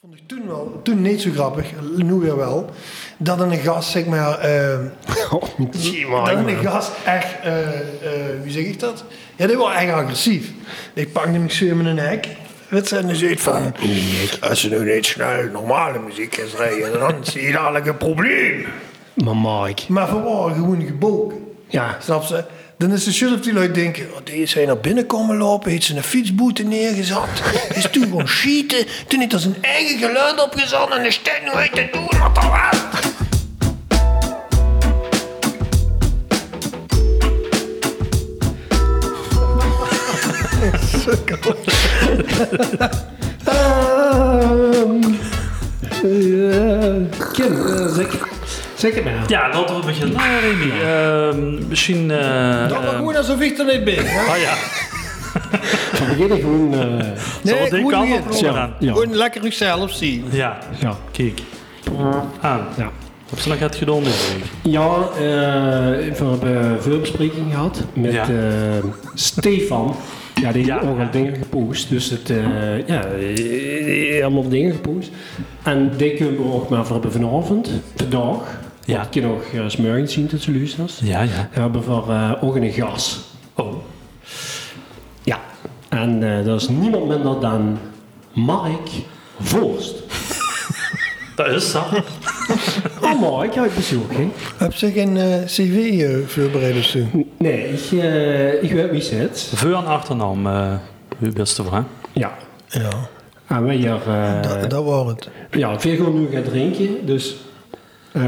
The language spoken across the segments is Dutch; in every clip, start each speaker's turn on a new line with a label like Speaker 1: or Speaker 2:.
Speaker 1: vond ik toen wel, toen niet zo grappig, nu weer wel, dat een gast zeg maar, eh, dat een gast echt, eh, eh, wie zeg ik dat? Ja, die was echt agressief. Ik pak namelijk zo in mijn nek, weet je, en die zegt van, als je nu niet snel normale muziek is rijden, dan zie je dadelijk een probleem.
Speaker 2: Maar Mike.
Speaker 1: Maar we waren gewoon gebogen.
Speaker 2: Ja.
Speaker 1: Snap ze? Dan is de shit op die lui denken, oh, die is hij naar binnen komen lopen, heeft ze een fietsboete neergezet, is toen gewoon schieten, toen heeft hij zijn eigen geluid opgezet en is dit nu uit te doen wat er was.
Speaker 2: Kim, eh, zeg, zeg het maar.
Speaker 3: Ja, laten we beginnen. Nou, Remy, ehm, misschien... eh,
Speaker 1: Dat was
Speaker 3: ehm,
Speaker 1: gewoon alsof ik er niet ben. hè?
Speaker 3: ah ja,
Speaker 2: We beginnen gewoon... eh,
Speaker 1: Nee,
Speaker 3: zal
Speaker 1: ik
Speaker 3: die
Speaker 1: moet
Speaker 3: kant
Speaker 1: niet.
Speaker 3: op rollen
Speaker 2: ja,
Speaker 3: dan?
Speaker 2: ja,
Speaker 1: Gewoon lekker zichzelf zien.
Speaker 3: Ja,
Speaker 2: ja.
Speaker 3: kijk. Aan.
Speaker 2: ja.
Speaker 3: Op slag gaat het gedaan deze week.
Speaker 2: Ja, eh, we hebben veel bespreking gehad met
Speaker 3: Ja.
Speaker 2: eh, Stefan. Ja, die
Speaker 3: Ja.
Speaker 2: heeft nogal dingen gepost. Dus het, eh, ja, eh, eh, allemaal dingen gepost. En die kunnen we ook maar voor hebben vanavond, vandaag.
Speaker 3: Ja.
Speaker 2: Ja. Ik kan nog uh, smorgens zien dat ze luisteren.
Speaker 3: Ja, ja.
Speaker 2: We hebben voor eh ook een gas.
Speaker 3: Oh.
Speaker 2: Ja. En eh, dat is niemand minder dan Mark Voorst.
Speaker 3: Dat is dat.
Speaker 2: Oh, Mark, jij hebt bezoek, hè?
Speaker 1: Heb ze geen eh, cv-voorbereid of zo?
Speaker 2: Nee, ik, eh, ik weet wie ze het.
Speaker 3: Veel aan achternaam, eh, uw beste vrouw.
Speaker 2: Ja.
Speaker 1: Ja,
Speaker 2: En wij hier... eh,
Speaker 1: dat, dat was het.
Speaker 2: Ja, veel gewoon nu gaan drinken, dus... eh,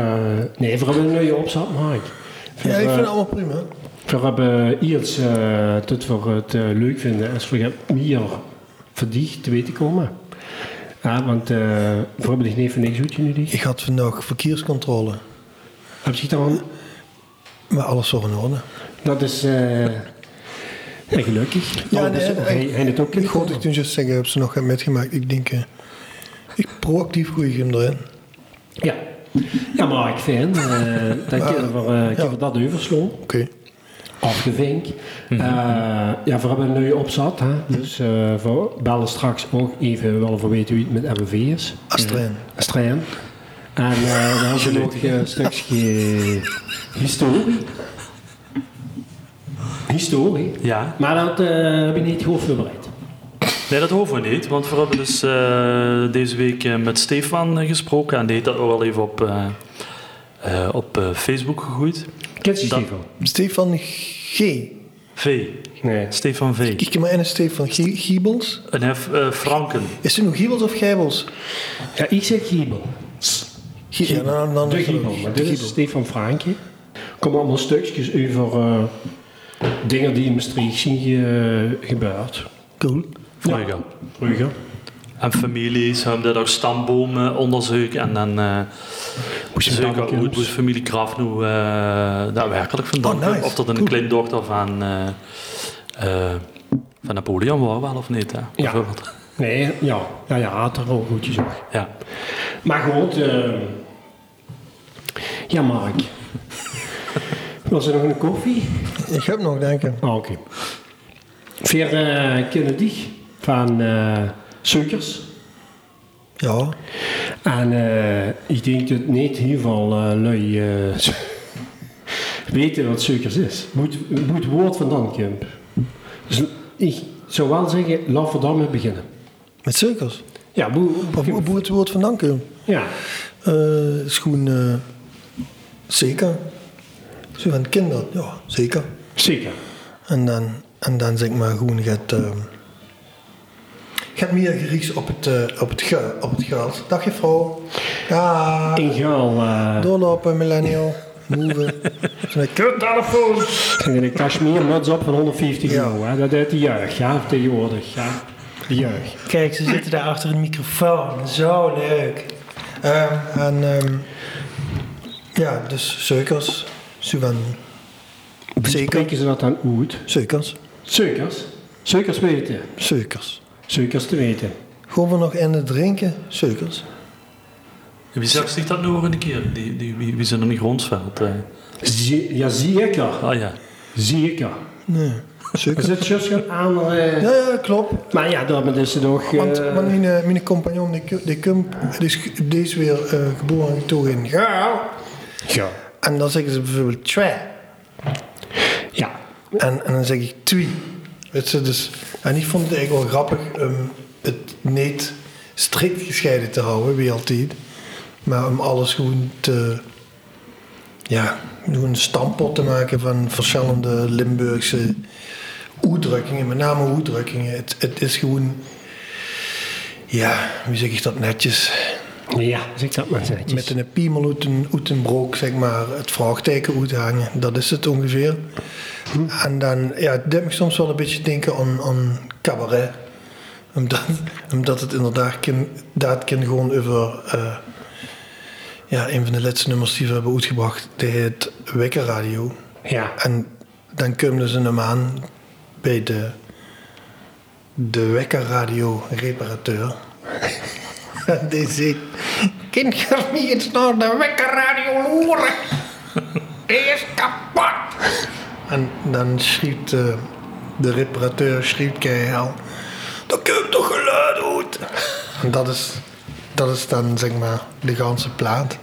Speaker 2: nee, we hebben nu je opzet, Mike. We,
Speaker 1: Ja, ik vind
Speaker 2: eh,
Speaker 1: het allemaal prima.
Speaker 2: we hebben iets eh dat we het eh, leuk vinden als we gaan meer verdicht te weten komen. Ja, want eh, we hebben die neef van niks goed nu die.
Speaker 1: Ik had vandaag verkeerscontrole,
Speaker 2: Heb je dan?
Speaker 1: maar alles zo in orde.
Speaker 2: Dat is eh, ja, gelukkig.
Speaker 1: Ja,
Speaker 2: Ja,
Speaker 1: nee,
Speaker 2: Oh, hij
Speaker 1: ik-
Speaker 2: hij heeft ook
Speaker 1: Ik
Speaker 2: niet
Speaker 1: hoorde ik
Speaker 2: goed.
Speaker 1: toen juist zeggen, heb ze nog metgemaakt. Ik denk, eh, ik proactief gooi ik hem erin.
Speaker 2: Ja. ja, maar ik vind eh dat kunnen we, eh, kunnen we dat overslaan.
Speaker 1: Oké.
Speaker 2: afgevinkt. Eh, ja, we hebben nu op zat, hè? dus eh, we bellen straks ook even wel voor weten wie het met MV is.
Speaker 1: Astrijn.
Speaker 2: Astrijn. En eh dan hebben we nog eh, een stukje historie. Historie.
Speaker 3: Ja.
Speaker 2: Maar dat eh, heb ik niet goed voorbereid.
Speaker 3: Nee, dat hoeven we niet, want we hebben dus eh, deze week eh, met Stefan eh, gesproken. En die heeft dat ook al even op, eh, eh, op eh, Facebook gegooid.
Speaker 2: Kent je
Speaker 3: Dat-
Speaker 2: Stefan?
Speaker 1: Stefan G.
Speaker 3: V.
Speaker 2: Nee.
Speaker 3: Stefan V.
Speaker 1: Ik ken maar en Stefan G- Giebels.
Speaker 3: En F. eh, Franken.
Speaker 1: Is het nog Giebels of Gijbels?
Speaker 2: Ja, ik zeg Giebel.
Speaker 1: Gie- ja, nou, dan, dan
Speaker 2: De Giebel. Maar dit is
Speaker 1: Giebel.
Speaker 2: Stefan Frankje. Kom allemaal stukjes over eh, dingen die in Maastricht zien ge- gebeurd.
Speaker 1: Cool.
Speaker 3: Vroeger.
Speaker 2: Brugge.
Speaker 3: En families hebben daar ook stambomen onderzoek. En dan eh zeker
Speaker 2: danken,
Speaker 3: hoe
Speaker 2: jongens.
Speaker 3: hoe de familie Graf nu eh, daadwerkelijk vandaan
Speaker 1: Oh, nice.
Speaker 3: komt. Of dat een
Speaker 1: Cool.
Speaker 3: kleindochter van, eh, eh, van Napoleon was wel of niet. Hè? Bijvoorbeeld.
Speaker 2: Nee, ja. Ja, ja, had er ook goedjes op.
Speaker 3: Ja.
Speaker 2: Maar goed, eh, ja, Mark. Was er nog een koffie?
Speaker 1: Ik heb nog, denk ik.
Speaker 2: Ah, oké. Veer eh Kennedy van eh Suikers.
Speaker 1: Ja.
Speaker 2: En eh, ik denk dat niet heel veel eh, lui eh, weten wat suikers is. Moet, moet woord vandaan, Kump. Dus ik zou wel zeggen, laten we daarmee beginnen.
Speaker 1: Met suikers.
Speaker 2: Ja, boe,
Speaker 1: Of hoe hoe het woord vandaan komt.
Speaker 2: ja.
Speaker 1: Eh, schoen. eh, zeker. Zo van kinderen. Ja, zeker.
Speaker 2: zeker.
Speaker 1: En dan, en dan zeg maar gewoon gaat. ehm gaat meer gericht op het, eh op het, ge- op het geld. Dag je vrouw. Ja.
Speaker 2: In Gaal, eh
Speaker 1: Doorlopen, millennial. Move. Zo'n kuttelefoon.
Speaker 2: in een cashmere-muts op van 150
Speaker 1: Ja.
Speaker 2: euro. Hè. Dat deed de jeugd, ja, tegenwoordig. Ja. De jeugd.
Speaker 1: Kijk, ze zitten daar achter een microfoon. Zo leuk. Ehm, en ehm, ja, dus suikers. Suwan. Zeker.
Speaker 2: Spreken ze dat dan uit?
Speaker 1: Suikers.
Speaker 2: Suikers. Suikers weten.
Speaker 1: Suikers.
Speaker 2: Suikers te weten.
Speaker 1: Gewoon we nog in het drinken? Suikers.
Speaker 3: Wie zag zich dat nu nog een keer? Die, die, wie, wie zijn er niet grondsveld? eh?
Speaker 2: Zie- ja, zeker.
Speaker 3: Ah ja.
Speaker 2: Zeker.
Speaker 1: Nee.
Speaker 2: Er
Speaker 1: Suikers.
Speaker 2: zit juist een andere...
Speaker 1: Ja, ja, klopt.
Speaker 2: Maar ja, dat hebben dus nog...
Speaker 1: Want
Speaker 2: eh,
Speaker 1: want mijn, eh, mijn compagnon, die, Ku- die Kump, die is, ge- die is weer eh, geboren en getogen in Gaal.
Speaker 2: ja.
Speaker 1: En dan zeggen ze bijvoorbeeld twee.
Speaker 2: ja.
Speaker 1: En, en dan zeg ik twee. Weet ze, dus, en ik vond het eigenlijk wel grappig om het niet strikt gescheiden te houden, wie altijd. Maar om alles gewoon te... Ja, gewoon een stampot te maken van verschillende Limburgse uitdrukkingen. Met name uitdrukkingen. Het, het is gewoon... Ja, hoe zeg ik dat netjes?
Speaker 2: Ja, zeg dat maar netjes.
Speaker 1: Met een piemel uit een, uit een broek, zeg maar, het vraagteken uithangen. Dat is het ongeveer. En dan, ja, het deed me soms wel een beetje denken aan, aan cabaret. Omdat, omdat het inderdaad kan, dat kan gewoon over... eh, ja, een van de laatste nummers die we hebben uitgebracht, die heet Wekker Radio.
Speaker 2: Ja.
Speaker 1: En dan komen ze hem aan bij de, de wekkerradio-reparateur. En die zegt... Kind je er niet eens naar de wekkerradio loeren? Die is kapot! En dan schreeuwt de, de reparateur schreeuwt keihard... Dat komt toch geluid uit? En dat is, dat is dan, zeg maar, de ganse plaat.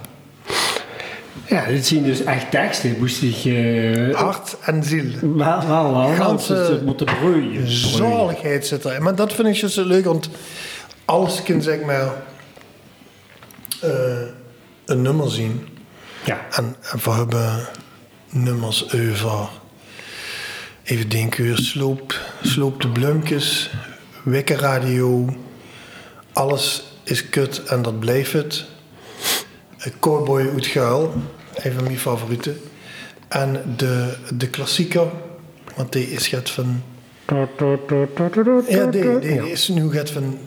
Speaker 2: ja, dit zien dus echt teksten. Moest ik... eh
Speaker 1: Hart en ziel.
Speaker 2: wel, wel, wel.
Speaker 1: Ah. Ganse-
Speaker 2: Ganse... Het moeten broeien.
Speaker 1: zaligheid zit erin. Maar dat vind ik dus zo leuk, want alles kan zeg maar eh, een nummer zien.
Speaker 2: Ja.
Speaker 1: En we hebben nummers over, even denken, weer sloop, sloop de Blumkes, Wekkerradio, alles is kut en dat blijft het. Eh, Cowboy uit Geul, een van mijn favorieten. En de, de klassieker, want die is het van ja, die, die is nu gaat van,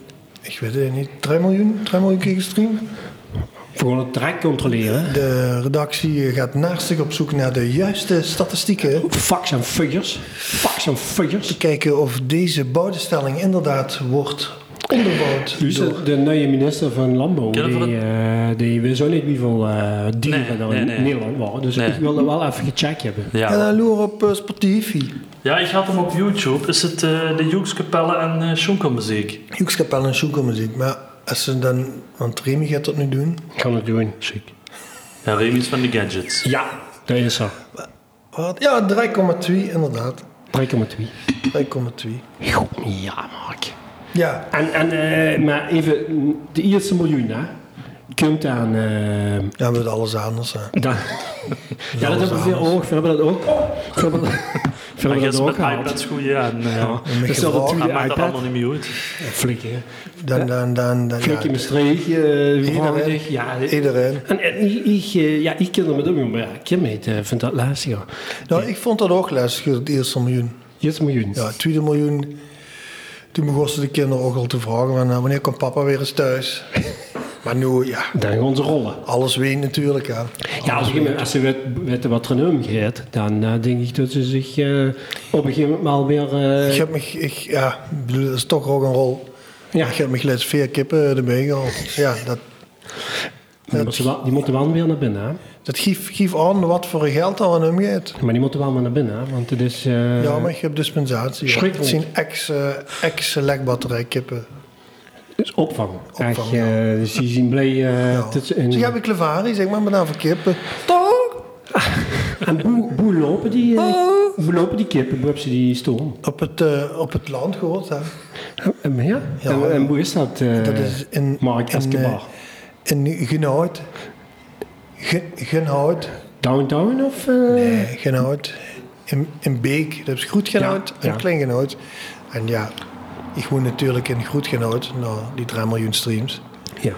Speaker 1: ik weet het niet, 3 miljoen, 3 miljoen keer gestreamd.
Speaker 2: Gewoon het track controleren.
Speaker 1: De redactie gaat naastig op zoek naar de juiste statistieken.
Speaker 2: Fax en fuggers. Fax en fuggers.
Speaker 1: Kijken of deze bouwstelling inderdaad wordt onderbouwd.
Speaker 2: Dus
Speaker 1: door-
Speaker 2: de, de nieuwe minister van Landbouw,
Speaker 3: Ken je
Speaker 2: die,
Speaker 3: dat
Speaker 2: eh, die wist ook niet hoeveel eh dieren
Speaker 3: Nee,
Speaker 2: er
Speaker 3: nee,
Speaker 2: in
Speaker 3: nee.
Speaker 2: Nederland waren. Dus
Speaker 3: Nee.
Speaker 2: ik wilde wel even gecheckt hebben.
Speaker 1: En
Speaker 3: Ja.
Speaker 1: dan loer op eh, Spotify.
Speaker 3: ja, ik had hem op YouTube. Is het eh, de Joekskapelle en eh Schonkelmuziek?
Speaker 1: Joekskapel en Sjoekelmuziek. Maar als ze dan, want Remy gaat dat nu doen.
Speaker 2: Ik kan het doen. Ziek.
Speaker 3: Ja, Remy is van de Gadgets.
Speaker 2: Ja, dat is zo.
Speaker 1: Wat? Ja, 3,2 inderdaad.
Speaker 2: Prikken met wie?
Speaker 1: 3,2.
Speaker 2: God, ja, Mark.
Speaker 1: Ja,
Speaker 2: En, en eh, maar even, de eerste miljoen, hè? Komt aan. eh,
Speaker 1: dan hebben we het alles anders. Hè.
Speaker 2: dan- ja, dat hebben we veel ook. We hebben dat ook. We hebben dat, we
Speaker 3: Maar
Speaker 2: hebben
Speaker 3: je
Speaker 2: dat
Speaker 3: is
Speaker 2: ook
Speaker 3: met
Speaker 2: gehad.
Speaker 3: iPads goeie en... eh,
Speaker 2: Ja,
Speaker 1: met
Speaker 2: dat is wel de
Speaker 1: gevolg.
Speaker 3: hij
Speaker 2: tweede
Speaker 3: maakt dat allemaal
Speaker 2: iPad.
Speaker 3: niet meer uit.
Speaker 2: Flikken, hè?
Speaker 1: Dan, dan, dan, dan.
Speaker 2: Flikken
Speaker 1: ja.
Speaker 2: Maastricht, eh
Speaker 1: Iedereen.
Speaker 2: Vlaanderen. Ja, dit-
Speaker 1: Iedereen.
Speaker 2: En, en ik, ik, eh, ja, ik ken er met om, maar ja, Kim heet, eh, vindt dat lastiger.
Speaker 1: Nou, ik vond dat ook lastig, het eerste miljoen.
Speaker 2: Eerst miljoen.
Speaker 1: Ja, het tweede miljoen. Toen begonnen de kinderen ook al te vragen: van, eh, wanneer komt papa weer eens thuis? maar nu, ja,
Speaker 2: Dan gaan ze rollen.
Speaker 1: alles ween natuurlijk. Hè.
Speaker 2: Ja, als, je, als ze weet, weten wat er nu gaat, dan eh, denk ik dat ze zich eh, op een gegeven moment weer... eh,
Speaker 1: Ik heb me, ik, ja, ik bedoel, dat is toch ook een rol.
Speaker 2: ja,
Speaker 1: Ik heb me gelijk vier kippen erbij gehaald. Ja, dat,
Speaker 2: die, moeten wel, die moeten wel weer naar binnen, hè.
Speaker 1: dat geeft, geeft aan wat voor geld er aan hem gaat.
Speaker 2: Maar die moeten wel weer naar binnen, hè, want het is... eh,
Speaker 1: Ja, maar ik heb dispensatie. ja.
Speaker 2: Schrik
Speaker 1: Het zijn ex, eh, ex lekbatterij kippen.
Speaker 2: het is opvang. Echt,
Speaker 1: Opvang, ja.
Speaker 2: eh, dus die zien blij... eh,
Speaker 1: Ja.
Speaker 2: dat ze
Speaker 1: Dus
Speaker 2: een-
Speaker 1: ik heb een klavari, zeg maar, maar dan voor kippen. Toch?
Speaker 2: En hoe, hoe lopen die... eh,
Speaker 1: Oh.
Speaker 2: hoe lopen die kippen? Hoe hebben ze die stoom?
Speaker 1: Op het, eh, op het land gehoord, hè.
Speaker 2: Eh, ja?
Speaker 1: Ja.
Speaker 2: en, en hoe is dat, eh,
Speaker 1: Dat is in,
Speaker 2: Mark
Speaker 1: in,
Speaker 2: Escobar?
Speaker 1: eh, in Genoud. Ge- Genoud.
Speaker 2: Downtown of... eh,
Speaker 1: Nee, Genoud. In, in Beek. Dat is Groet Genoud
Speaker 2: Ja,
Speaker 1: en
Speaker 2: ja.
Speaker 1: Klein Genoud. En ja, ik woon natuurlijk in Groet Genoud. Nou, die 3 miljoen streams.
Speaker 2: Ja.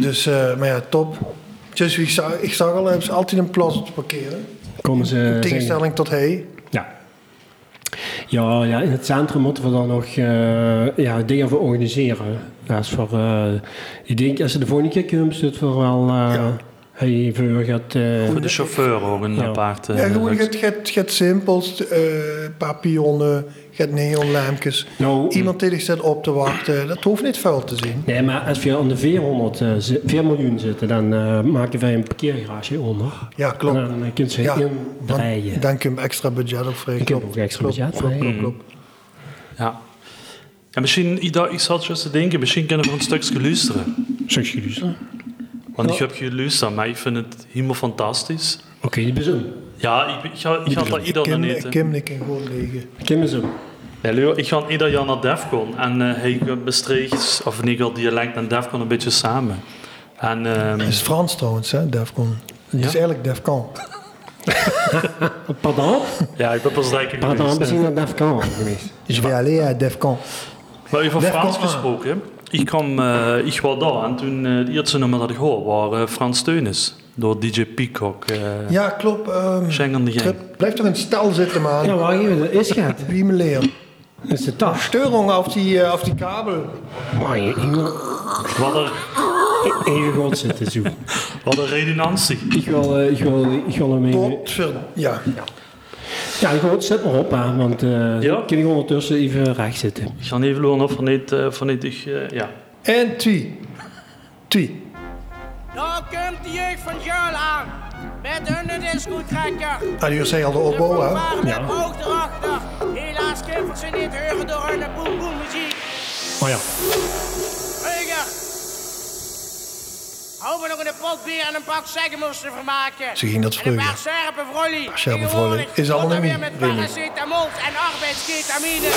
Speaker 1: Dus, eh, maar ja, top. Dus ik zag, ik zag al, er is altijd een plaats om te parkeren.
Speaker 2: Komen ze...
Speaker 1: In
Speaker 2: zingen?
Speaker 1: tegenstelling tot hij.
Speaker 2: Ja. Ja, ja, in het centrum moeten we dan nog eh, ja, dingen voor organiseren. Dat is voor, eh, ik denk als ze de volgende keer komt, dat we wel eh
Speaker 1: Ja.
Speaker 2: hey, voor gaat. eh,
Speaker 3: Voor de chauffeur ook een
Speaker 2: Ja.
Speaker 3: apart... eh,
Speaker 1: Ja, gewoon, je
Speaker 3: luxe.
Speaker 1: hebt- je hebt- je hebt simpels, eh papillonnen, je hebt neonlaampjes.
Speaker 2: nou,
Speaker 1: Iemand die er zit op te wachten, dat hoeft niet vuil te zien.
Speaker 2: Nee, maar als we aan de 400, eh, zi- 4 miljoen zitten, dan eh, maken wij een parkeergarage onder.
Speaker 1: Ja, klopt.
Speaker 2: En dan eh, kunnen ze
Speaker 1: Ja,
Speaker 2: indraaien.
Speaker 1: Dan, dan kun je extra budget opvregen.
Speaker 2: Ik heb ook extra budget
Speaker 1: Klopt, klopt,
Speaker 2: vrij.
Speaker 1: klopt.
Speaker 3: Ja. En misschien, ik, dacht, ik zat juist te denken, misschien kunnen we een stukje luisteren.
Speaker 4: Zeg je dus? Oké,
Speaker 3: Want ik heb geluisterd, maar ik vind het helemaal fantastisch.
Speaker 2: die bezum.
Speaker 3: Ja, ik, ik ga, ik ga dat
Speaker 1: Ik
Speaker 3: ieder jaar
Speaker 1: ken-
Speaker 3: eten.
Speaker 1: Ik ken ik in gewoon liggen.
Speaker 2: Kim bezum.
Speaker 3: Nee, Leo, ik ga ieder jaar naar Defcon en eh, hij bestreekt, of nee, ik ga dialect en Defcon een beetje samen. En ehm,
Speaker 1: Het is Frans trouwens, hè, Defcon. Het is eigenlijk Defcon.
Speaker 2: Pardon?
Speaker 3: ja, ik ben pas lekker
Speaker 2: Pardon,
Speaker 3: geweest.
Speaker 2: we zijn naar Defcon geweest.
Speaker 1: Je vais aller à Defcon.
Speaker 3: Maar even
Speaker 1: Defcon
Speaker 3: Frans
Speaker 1: A.
Speaker 3: gesproken. Ik kwam, eh, ik was daar en toen eh het eerste nummer dat ik hoor, was eh, Frans Teunis. Door DJ Peacock. eh
Speaker 1: Ja, klopt. ehm,
Speaker 3: Schengen de Gang.
Speaker 1: Trip, blijf toch in stel zitten, man.
Speaker 2: Ja,
Speaker 1: Ja.
Speaker 2: waar je dat is gaat.
Speaker 1: Biemeleer.
Speaker 2: Dat is de tas.
Speaker 1: Steurung op die, eh, op die kabel.
Speaker 2: Maar je
Speaker 3: Wat een,
Speaker 2: in grond zitten zo.
Speaker 3: wat een redundantie.
Speaker 2: Ik wil, eh, ik wil, ik wil hem even...
Speaker 1: Potverd- Ja.
Speaker 2: Ja, goed, zet maar op, hè, want eh
Speaker 3: Ja.
Speaker 2: kan ik ondertussen even recht zitten.
Speaker 3: Ik ga even lopen of vanuit, eh, vanuit ik, eh, ja.
Speaker 1: En twee. Twee.
Speaker 5: Nou komt de jeugd van Jarl aan. Met hun discotrekker.
Speaker 1: Ah, die zei al de
Speaker 5: De
Speaker 1: opbouw, hè?
Speaker 5: fanfare met oog erachter. Helaas geen verzineerd heugen door hun boem boem muziek.
Speaker 2: Maar ja.
Speaker 5: Heugen! Hou me nog een pot bier en een pak zeggenmoesten vermaken.
Speaker 1: Ze ging dat
Speaker 5: En een
Speaker 1: vroeger.
Speaker 5: paar scherpe vrolie.
Speaker 1: scherpe vrolie.
Speaker 5: Tegenwoordig
Speaker 1: Is allemaal
Speaker 5: komt
Speaker 1: niet
Speaker 5: dat weer met
Speaker 1: meer,
Speaker 5: paracetamol en arbeidsketamine.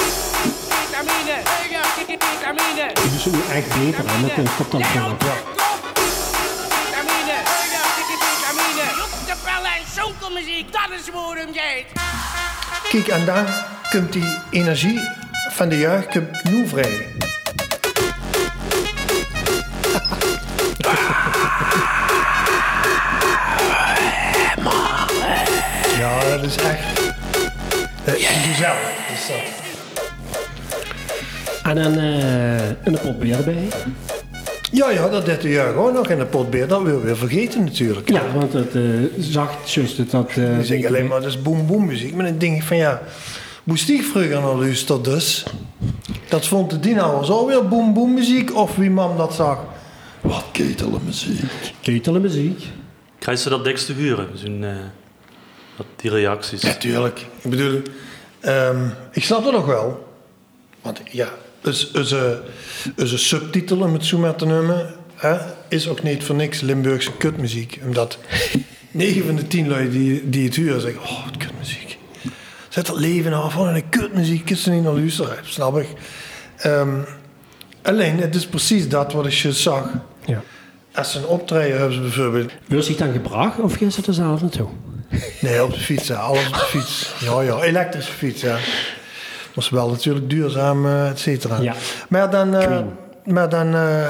Speaker 5: Ketamine. Heugen, ketamine.
Speaker 2: Het is ook echt beter hè, met een koptelefoon.
Speaker 5: Ja. Ketamine. Heugen, ketamine. Joep de pellen en zonkelmuziek. Dat is waarom jij het.
Speaker 1: Kijk, en dan komt die energie van de jeugd komt nu vrij. Ja, dat is echt. Dat is gezellig. is dat.
Speaker 2: En dan eh een pot bier erbij.
Speaker 1: Ja, ja, dat deed de jeugd ook nog in de potbeer. Dat wil we weer vergeten natuurlijk.
Speaker 2: Ja, want dat eh zacht, zus, dat... dat eh,
Speaker 1: Die zingen alleen maar dus boom boom muziek. Maar dan denk ik van ja, moest ik vroeger naar luisteren dus? Dat vond de dino zo weer boom boom muziek of wie mam dat zag. Wat ketelen muziek.
Speaker 2: Ketelen muziek.
Speaker 3: Krijg ze dat dikste huren? Zo'n, eh, dat- die reacties.
Speaker 1: Natuurlijk. Dus- Ik bedoel, ehm, ik snap dat nog wel. Want ja, is, is, eh, is een subtitel om het zo maar te noemen, hè, is ook niet voor niks Limburgse kutmuziek. Omdat 9 van de 10 lui die, die het huren zeggen, oh, wat kutmuziek. Zet dat leven nou af, van een kutmuziek, kun je niet naar luisteren, snap ik. Ehm, alleen, het is precies dat wat ik je zag.
Speaker 2: Ja.
Speaker 1: Als ze een optreden hebben ze bijvoorbeeld
Speaker 2: Wil je het dan gebracht of ging ze er zelf naartoe?
Speaker 1: Nee, op de fiets, hè. alles op de fiets. Ja, ja, elektrische fiets, ja. Maar ze wel natuurlijk duurzaam, eh, et cetera.
Speaker 2: Ja.
Speaker 1: Maar dan, eh,
Speaker 2: Green.
Speaker 1: maar dan eh,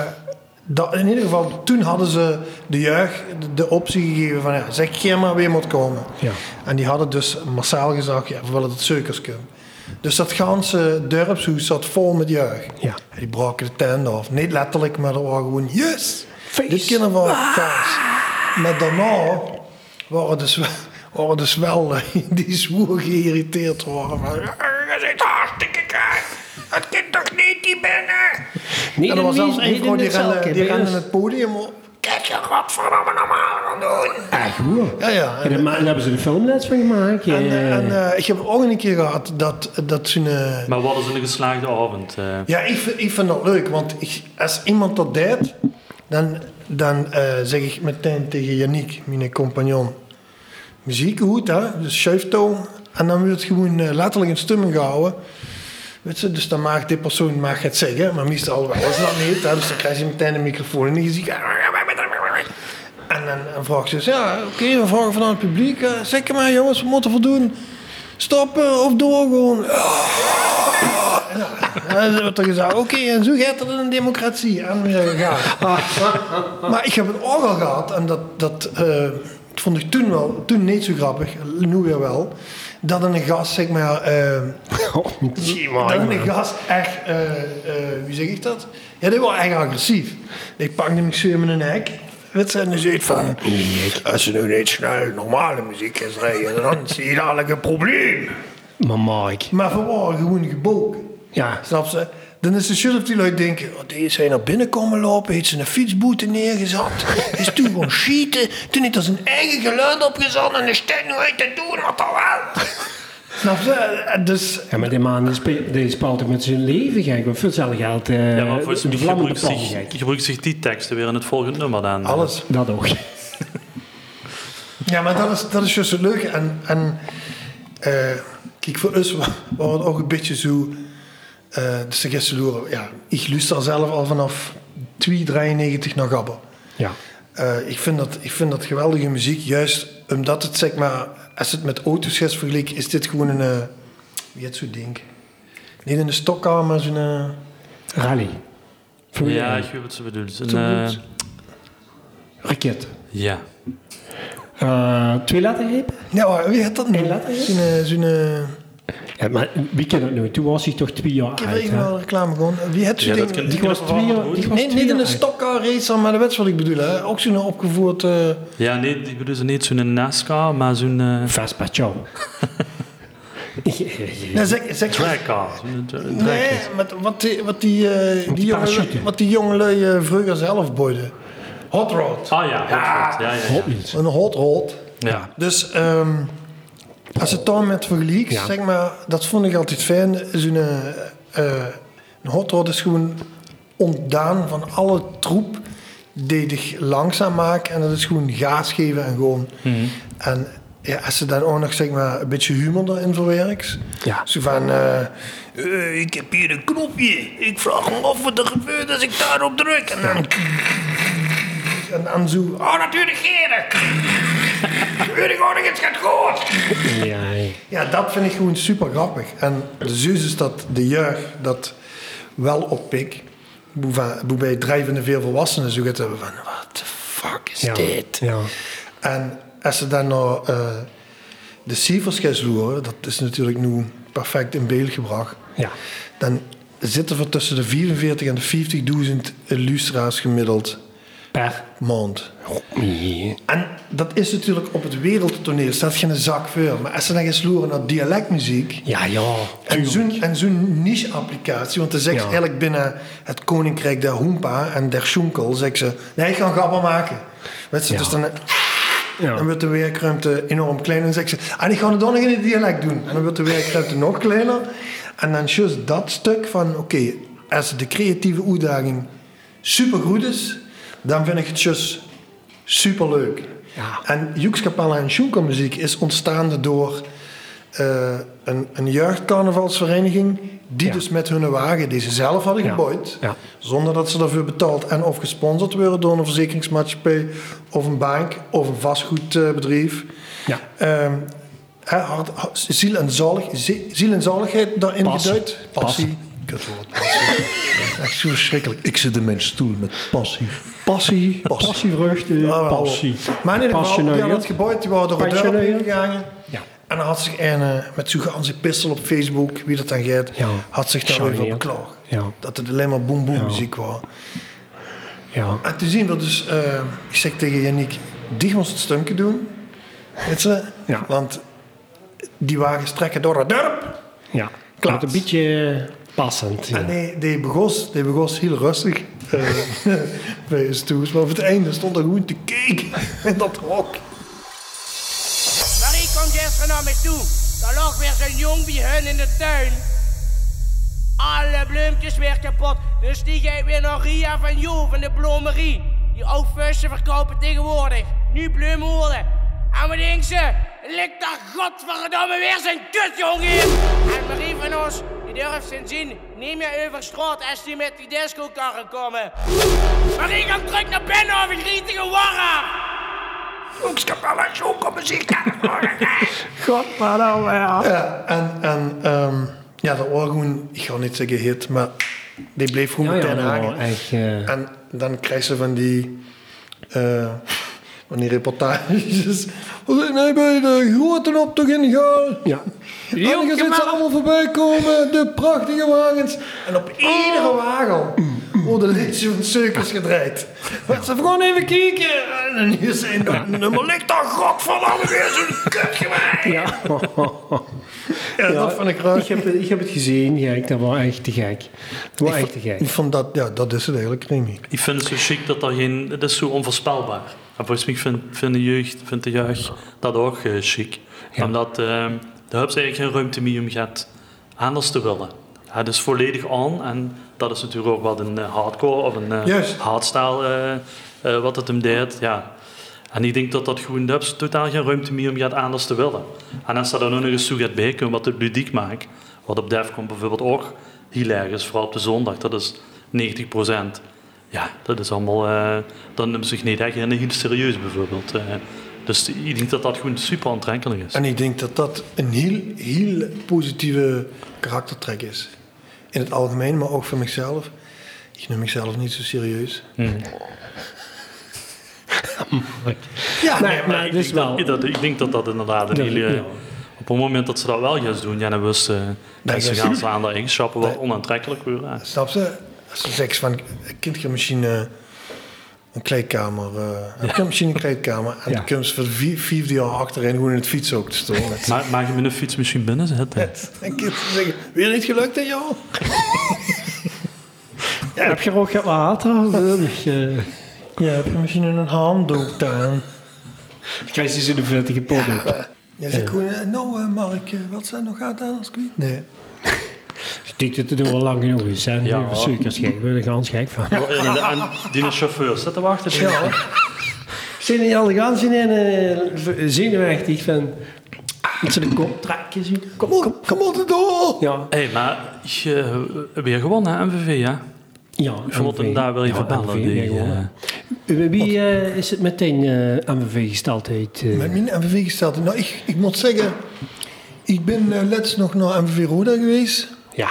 Speaker 1: dat, in ieder geval, toen hadden ze de jeugd de, de optie gegeven van, ja, zeg jij maar weer moet komen.
Speaker 2: Ja.
Speaker 1: En die hadden dus massaal gezegd, ja, we willen dat zeukers kunnen. Dus dat ganse dorpshoes zat vol met jeugd.
Speaker 2: Ja.
Speaker 1: En die braken de tanden af. Niet letterlijk, maar er waren gewoon, yes! Dit kunnen we kaas. Maar daarna waren dus, wel- waren dus wel eh, die zwoer geïrriteerd worden. Van, "Eh,
Speaker 5: Je zit hartstikke kraak. Het kind toch niet die binnen?
Speaker 2: Nee,
Speaker 1: en er was zelfs één vrouw die rende, die rende
Speaker 2: het.
Speaker 1: het podium op.
Speaker 5: Kijk je godverdomme normaal aan doen.
Speaker 2: Echt hoor.
Speaker 1: Ja, ja.
Speaker 2: En
Speaker 1: En,
Speaker 2: daar ma- daar hebben ze de filmlets van gemaakt.
Speaker 1: en,
Speaker 2: eh.
Speaker 1: en, eh, ik heb ook een keer gehad dat, dat zo'n... eh,
Speaker 3: Maar wat is een geslaagde avond? eh.
Speaker 1: Ja, ik, vind- ik vind dat leuk, want ik, als iemand dat deed, dan, dan eh, zeg ik meteen tegen Yannick, mijn compagnon, muziek goed, hè? Dus schuiftoon. En dan wordt gewoon eh, letterlijk in stemming gehouden. Weet ze, dus dan mag die persoon mag het zeggen, maar meestal wel is dat niet. Hè? Dus dan krijg je meteen een microfoon in je gezicht. En dan dan vraagt ze, dus, ja, oké, we vragen vanuit het publiek. eh, zeg maar, jongens, we moeten voldoen. Stoppen of doorgaan. Ja, dan wordt er gezegd, oké, en zo gaat het in een democratie. En we zijn gegaan. maar ik heb het ook al gehad, en dat, dat eh, vond ik toen wel, toen niet zo grappig, nu weer wel, dat een gast, zeg maar, eh, dat een gast echt, eh, eh, wie zeg ik dat? Ja, die was echt agressief. Ik pak namelijk zo in mijn nek, weet je, en die zegt van, als ze nu niet snel normale muziek is rijden, dan zie je dadelijk een probleem.
Speaker 2: Maar Mike.
Speaker 1: Maar we waren gewoon gebogen.
Speaker 2: Ja.
Speaker 1: Snap ze? Dan is de shit of die lui denken, oh, die is hij naar binnen komen lopen, heeft zijn fietsboete neergezet, is toen gewoon schieten, toen heeft hij zijn eigen geluid opgezet en is tijd nu uit te doen, wat dan wel. Snap je? Eh, Dus
Speaker 2: Ja, maar die man die spe- die speelt ook met zijn leven gek. Want veel zelf geld. eh
Speaker 3: Ja, maar voor,
Speaker 2: de vlammen
Speaker 3: gebruikt,
Speaker 2: bepalen
Speaker 3: zich,
Speaker 2: gek.
Speaker 3: gebruikt zich die teksten weer in het volgende nummer dan?
Speaker 1: alles.
Speaker 2: Dat ook.
Speaker 1: Ja, maar dat is, dat is juist het leuke. En, en eh, kijk, voor ons wa- was het ook een beetje zo... eh de suggestie door... Ja, ik luister zelf al vanaf 293 naar Gabba.
Speaker 2: Ja.
Speaker 1: Eh, ik, vind dat, ik vind dat geweldige muziek. Juist omdat het, zeg maar... Als het met auto's is vergeleken, is dit gewoon een... eh, wie heet zo'n ding? Niet in de stokkamer, maar zo'n... eh,
Speaker 2: Rally. Formule
Speaker 3: Ja,
Speaker 2: één.
Speaker 3: ik weet wat ze bedoelt. Een,
Speaker 1: Toen-
Speaker 3: eh,
Speaker 2: Raket.
Speaker 3: ja.
Speaker 2: Eh, twee lettergrepen?
Speaker 1: ja, maar wie had dat nu?
Speaker 2: Eén letter, hè?
Speaker 1: Zo'n... eh, zo'n eh,
Speaker 2: Ja, maar wie kent dat nu? Toen was hij toch twee jaar
Speaker 1: ik heb
Speaker 2: oud,
Speaker 1: even
Speaker 2: hè?
Speaker 1: wel reclame gewoon. Wie had zo'n
Speaker 3: Ja, dat
Speaker 1: ding?
Speaker 3: kan-
Speaker 2: Die was twee jaar... Die was
Speaker 1: Nee,
Speaker 2: twee
Speaker 1: niet in
Speaker 2: jaar
Speaker 1: een
Speaker 2: oud.
Speaker 1: stockcar race, maar dat is wat ik bedoel. Hè. Ook zo'n opgevoerd... eh,
Speaker 3: ja, nee, ik bedoel ze niet zo'n NASCAR, maar zo'n eh
Speaker 2: Vespa, ciao.
Speaker 1: nee, zeg, zeg-
Speaker 3: trackcar. Zo'n, eh,
Speaker 1: nee, met, wat die, wat die, eh, die,
Speaker 2: die
Speaker 1: jongelui,
Speaker 2: parachute.
Speaker 1: wat die jongelui eh, vroeger zelf boyden. Hot rod.
Speaker 3: Ah ja, ja. ja, ja, ja.
Speaker 2: Hopkins.
Speaker 1: Een hot rod.
Speaker 3: ja.
Speaker 1: Dus ehm, als het dan met vergelijkt,
Speaker 2: Ja.
Speaker 1: zeg maar, dat vond ik altijd fijn. Zo'n eh, eh, een hot rod is gewoon ontdaan van alle troep die dich langzaam maakt. En dat is gewoon gaas geven en gewoon.
Speaker 2: Mhm.
Speaker 1: En ja, als ze dan ook nog zeg maar, een beetje humor erin verwerkt.
Speaker 2: Ja.
Speaker 1: Zo van, eh, eh, ik heb hier een knopje. Ik vraag me af wat er gebeurt als ik daarop druk. En dan... En dan zo... Oh, natuurlijk geren. Weet ik ook nog, het gaat goed.
Speaker 2: Ja, ja.
Speaker 1: Ja, dat vind ik gewoon super grappig. En de zus is dat de jeugd dat wel oppikt. Boeva- Waarbij drijvende veel volwassenen zo gaat hebben van... What the fuck is
Speaker 2: Ja.
Speaker 1: dit?
Speaker 2: Ja.
Speaker 1: En als ze dan nou eh, de cijfers gaan zoeken, dat is natuurlijk nu perfect in beeld gebracht.
Speaker 2: Ja.
Speaker 1: Dan zitten we tussen de 44 en de 50.000 lustra's gemiddeld
Speaker 2: Per.
Speaker 1: maand.
Speaker 2: Ja.
Speaker 1: En dat is natuurlijk op het wereldtoneel, staat geen zak voor. Maar als ze dan gaan sloeren naar dialectmuziek.
Speaker 2: Ja, ja.
Speaker 1: En zo'n, en zo'n niche-applicatie, want dan zegt ze
Speaker 2: Ja.
Speaker 1: eigenlijk binnen het Koninkrijk der Hoempa en der Schunkel, zegt ze, nee, ik ga grappen maken. Weet ze,
Speaker 2: Ja.
Speaker 1: dus dan, dan
Speaker 2: Ja.
Speaker 1: wordt de werkruimte enorm klein. En dan zegt ze, "Ah, en ik ga het dan nog in het dialect doen. En dan wordt de werkruimte nog kleiner. En dan just dat stuk van, oké, als de creatieve uitdaging supergoed is, dan vind ik het just superleuk.
Speaker 2: Ja.
Speaker 1: En Joekskapelle en Sjoenkel muziek is ontstaan door eh, een, een jeugdcarnavalsvereniging die
Speaker 2: Ja.
Speaker 1: dus met hun wagen die ze zelf hadden
Speaker 2: Ja.
Speaker 1: gebouwd,
Speaker 2: Ja.
Speaker 1: zonder dat ze daarvoor betaald en of gesponsord werden door een verzekeringsmaatschappij of een bank of een vastgoedbedrijf.
Speaker 2: Ja.
Speaker 1: Ehm, hè, hard- ha- ziel, en zalig, zie- ziel en zaligheid daarin
Speaker 2: Passie.
Speaker 1: geduid. Passie. Kutwoord, passie. Echt zo verschrikkelijk. Ik zit in mijn stoel met passie. Passie. Passie.
Speaker 2: Passievruchten.
Speaker 1: Ja, wel.
Speaker 2: Passie.
Speaker 1: Maar in ieder geval, die
Speaker 2: Passioneel.
Speaker 1: hadden het gebouwd, die waren door het dorp
Speaker 2: Passioneel.
Speaker 1: heen gegaan.
Speaker 2: Ja.
Speaker 1: En dan had zich een, eh, met zo'n ganse pistol op Facebook, wie dat dan gaat,
Speaker 2: Ja.
Speaker 1: had zich daar even op
Speaker 2: Charmeerd.
Speaker 1: beklaagd.
Speaker 2: Ja.
Speaker 1: Dat het alleen maar boom boom
Speaker 2: Ja.
Speaker 1: muziek was.
Speaker 2: Ja.
Speaker 1: En toen zien we dus, eh, ik zeg tegen Yannick, die ons het stumke doen. Weet ze?
Speaker 2: Ja.
Speaker 1: Want die wagens trekken door het dorp.
Speaker 2: Ja.
Speaker 1: Klaar.
Speaker 2: Klopt. Een beetje passend. Ja.
Speaker 1: En die, die, begos, die begos heel rustig eh, bij ons toes. Maar op het einde stond er gewoon te kijken in dat hok.
Speaker 5: Marie komt gisteren naar me toe. Er lag weer zo'n jong bij hun in de tuin. Alle bloempjes weer kapot. Dus die geeft weer naar Ria van Jo van de bloemerie. Die ook vuisten verkopen tegenwoordig. Nu bloemoren. En wat denkt ze? Ligt daar godverdomme weer zijn kutjong in. En Marie van ons, die durft zijn zin niet meer over straat als die met die discokarren komen. Marie komt terug naar binnen of ik riet tegen warra.
Speaker 1: Ja, en, en ehm, ja, dat was gewoon, ik ga niet zeggen hit, maar die bleef gewoon
Speaker 2: Ja, ja,
Speaker 1: meteen
Speaker 2: dat
Speaker 1: hangen.
Speaker 2: was echt, eh,
Speaker 1: En dan krijg ze van die, eh, van die reportages. Als ik nee, bij de grote optocht in ga.
Speaker 2: Ja.
Speaker 1: En dan zitten ze allemaal voorbij komen, de prachtige wagens. En op iedere wagen wordt een liedje van suikers gedraaid. Maar ze gewoon even kijken. En hier zijn dat nummer ligt daar, godverdomme, weer zo'n kut
Speaker 2: Ja.
Speaker 1: Ja, dat vond ik raar.
Speaker 2: eh, Ik heb, het- ik heb het gezien, gek. Dat was echt te gek. Dat was echt te gek.
Speaker 1: Ik vond dat, ja, dat is het eigenlijk, Remy.
Speaker 3: Ik vind het zo chic dat er geen... Dat is zo onvoorspelbaar. En volgens mij vindt vind de, jeugd- vindt de jeugd dat ook eh, chic. Omdat eh, de hubs eigenlijk geen ruimte meer om gaat anders te willen. Het is volledig aan en dat is natuurlijk ook wat een eh, hardcore of een eh,
Speaker 1: Juist.
Speaker 3: hardstyle eh, eh, wat het hem deed. Ja. En ik denk dat dat gewoon de hubs totaal geen ruimte meer om gaat anders te willen. En als dat dan ook nog eens zo gaat bijkomen wat het ludiek maakt, wat op Defcon bijvoorbeeld ook hilarisch is, vooral op de zondag, dat is 90 ja, dat is allemaal. eh, dan neemt zich niet echt en heel serieus bijvoorbeeld. eh. dus ik denk dat dat gewoon super aantrekkelijk is.
Speaker 1: En ik denk dat dat een heel, heel positieve karaktertrek is. In het algemeen, maar ook voor mezelf. Ik neem mezelf niet zo serieus. Ja,
Speaker 2: Nee, maar het is
Speaker 3: Ik denk
Speaker 2: wel...
Speaker 3: Dat, ik denk dat dat inderdaad een
Speaker 2: Dat-
Speaker 3: hele...
Speaker 2: ja.
Speaker 3: Op het moment dat ze dat wel gaan doen, ja, dan wist ze dat ze
Speaker 1: is-
Speaker 3: gaan slaan dat eigenschappen wat onaantrekkelijk worden. Ja.
Speaker 1: Snap ze? Als ze zegt van, kindkermachine, eh, een kleedkamer. eh, een kindkermachine, een kleedkamer. En
Speaker 2: Ja.
Speaker 1: dan kunnen ze voor vier, vierde jaar achterin gewoon in het fiets ook te storen.
Speaker 3: Maar mag je met een fiets misschien binnen zetten?
Speaker 1: En kinderen zeggen, weer niet gelukt hè joh?
Speaker 2: Heb je er ook water? eh,
Speaker 1: Ja, heb je misschien een handdoek aan?
Speaker 2: Krijg je ze de vettige pot op.
Speaker 1: Ja, zeg gewoon, eh, nou eh, Mark, eh, wat zijn nog aan als kwijt? Nee.
Speaker 2: Ik denk dat het al lang genoeg is. Hè?
Speaker 3: Ja.
Speaker 2: Ja. Suikers gek. Ik ben er gans gek van.
Speaker 3: En, Oh, en, en die chauffeur zit te wachten. denk ik.
Speaker 1: Ja.
Speaker 2: Zijn die al de gans in eh, en zenuwachtig van... Dat ze de kop trekken. zo. Kom,
Speaker 1: Kom, kom op de door!
Speaker 2: Ja.
Speaker 3: hey, maar je hebt weer gewonnen, hè, MVV, ja?
Speaker 2: Ja,
Speaker 3: Ik moet hem daar wel even bellen. die, eh,
Speaker 2: Wie eh, is het meteen eh AMV gestaldheid? eh?
Speaker 1: Met mijn MVV gesteld. Nou, ik, ik moet zeggen, ik ben eh, laatst nog naar MVV Roda geweest.
Speaker 2: ja.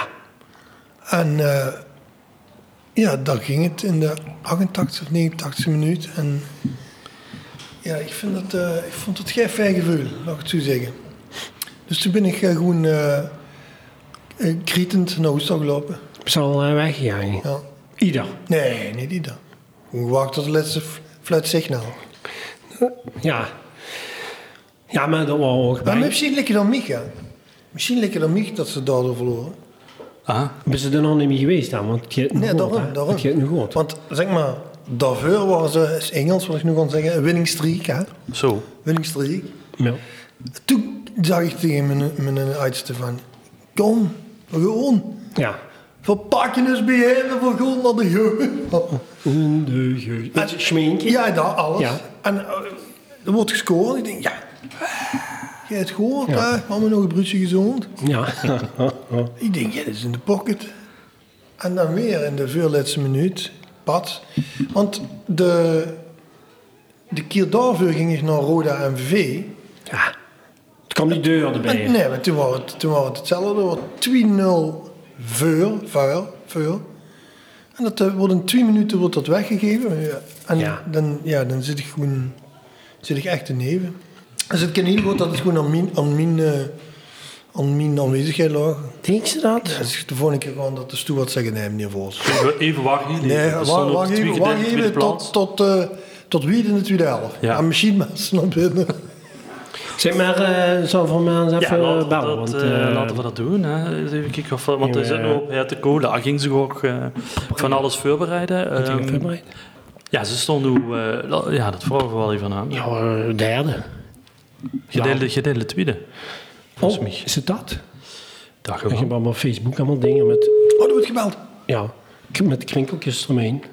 Speaker 1: En eh, ja, daar ging het in de 88 of 89 minuut. En ja, ik, vind dat, eh, ik vond het geen fijn gevoel, laat ik het zo zeggen. Dus toen ben ik eh, gewoon eh eh, krietend naar Oestal gelopen.
Speaker 2: We zijn al eh, weggegaan.
Speaker 1: Ja.
Speaker 2: Ieder.
Speaker 1: Nee, niet die dan. Gewoon gewacht tot het laatste f- fluitsignaal.
Speaker 2: Ja. Ja, maar dat was ook
Speaker 1: Maar
Speaker 2: bij.
Speaker 1: misschien lekker dan Micha. Misschien lekker dan Mich dat ze daardoor verloren.
Speaker 3: ah,
Speaker 2: Ben ze er nog niet meer geweest dan? Want het gaat nu
Speaker 1: Nee,
Speaker 2: goed,
Speaker 1: daarom,
Speaker 2: hè?
Speaker 1: daarom.
Speaker 2: Het gaat nu goed.
Speaker 1: Want zeg maar, daarvoor waren ze, is Engels wat ik nu kan zeggen, een winning streak. Hè?
Speaker 3: zo.
Speaker 1: Winning streak.
Speaker 2: Ja.
Speaker 1: Toen zag ik tegen mijn, mijn uitste van, kom, gewoon.
Speaker 2: ja.
Speaker 1: Verpak je eens bij hem voor gewoon naar de geur.
Speaker 2: En de geur- Het schminkje.
Speaker 1: Ja, daar alles.
Speaker 2: Ja.
Speaker 1: En eh, er wordt gescoord. Ik denk, ja, je hebt het gehoord,
Speaker 2: Ja.
Speaker 1: hè? Mama nog een broodje gezond.
Speaker 2: Ja.
Speaker 1: Ik denk, ja, dat is in de pocket. En dan weer in de voorlaatste minuut, pad. Want de, de keer daarvoor ging ik naar Roda MVV.
Speaker 2: ja. Het kwam die deur erbij.
Speaker 1: En, nee, maar toen was het, toen was het hetzelfde. Het was 2-0 vuil, vuil, vuil. En dat eh, wordt in twee minuten wordt dat weggegeven. Ja. En
Speaker 2: Ja.
Speaker 1: Dan, ja, dan zit ik gewoon zit ik echt te neven. Dus het kan heel goed dat het gewoon aan mijn, aan mijn, eh, aan mijn aanwezigheid lag.
Speaker 2: Denk ze dat?
Speaker 1: Dat is de volgende keer gewoon dat de stoel wat zeggen, nee meneer Vos.
Speaker 3: Even, even wachten. hier.
Speaker 1: Nee,
Speaker 3: We
Speaker 1: wacht,
Speaker 3: stonden op
Speaker 1: wacht
Speaker 3: de
Speaker 1: even,
Speaker 3: tweede-
Speaker 1: wacht
Speaker 3: tweede
Speaker 1: even
Speaker 3: plaats.
Speaker 1: tot, tot, eh tot wie in de tweede helft.
Speaker 3: Ja.
Speaker 1: Ja. En misschien mensen Oh, naar binnen.
Speaker 2: Zeg maar, eh zal van mij eens even
Speaker 3: laten,
Speaker 2: eh,
Speaker 3: we
Speaker 2: bellen.
Speaker 3: dat,
Speaker 2: want,
Speaker 3: eh,
Speaker 2: eh,
Speaker 3: laten we dat doen. Hè. Eens Even kijken of, want
Speaker 2: Ja,
Speaker 3: er zit
Speaker 2: ja.
Speaker 3: nog op ja, te kolen. Daar ging ze ook eh, van alles voorbereiden.
Speaker 2: moet ik
Speaker 3: Ehm,
Speaker 2: even brengen?
Speaker 3: ja, ze stond hoe... eh, la- ja, dat vragen we wel even aan.
Speaker 2: Ja, eh, derde.
Speaker 3: Gedeelde, gedeelde tweede.
Speaker 2: Oh, is het dat?
Speaker 3: Dag
Speaker 2: Ik heb allemaal Facebook, allemaal dingen met,
Speaker 1: Oh, er wordt gebeld.
Speaker 2: ja, k- met krinkeltjes eromheen.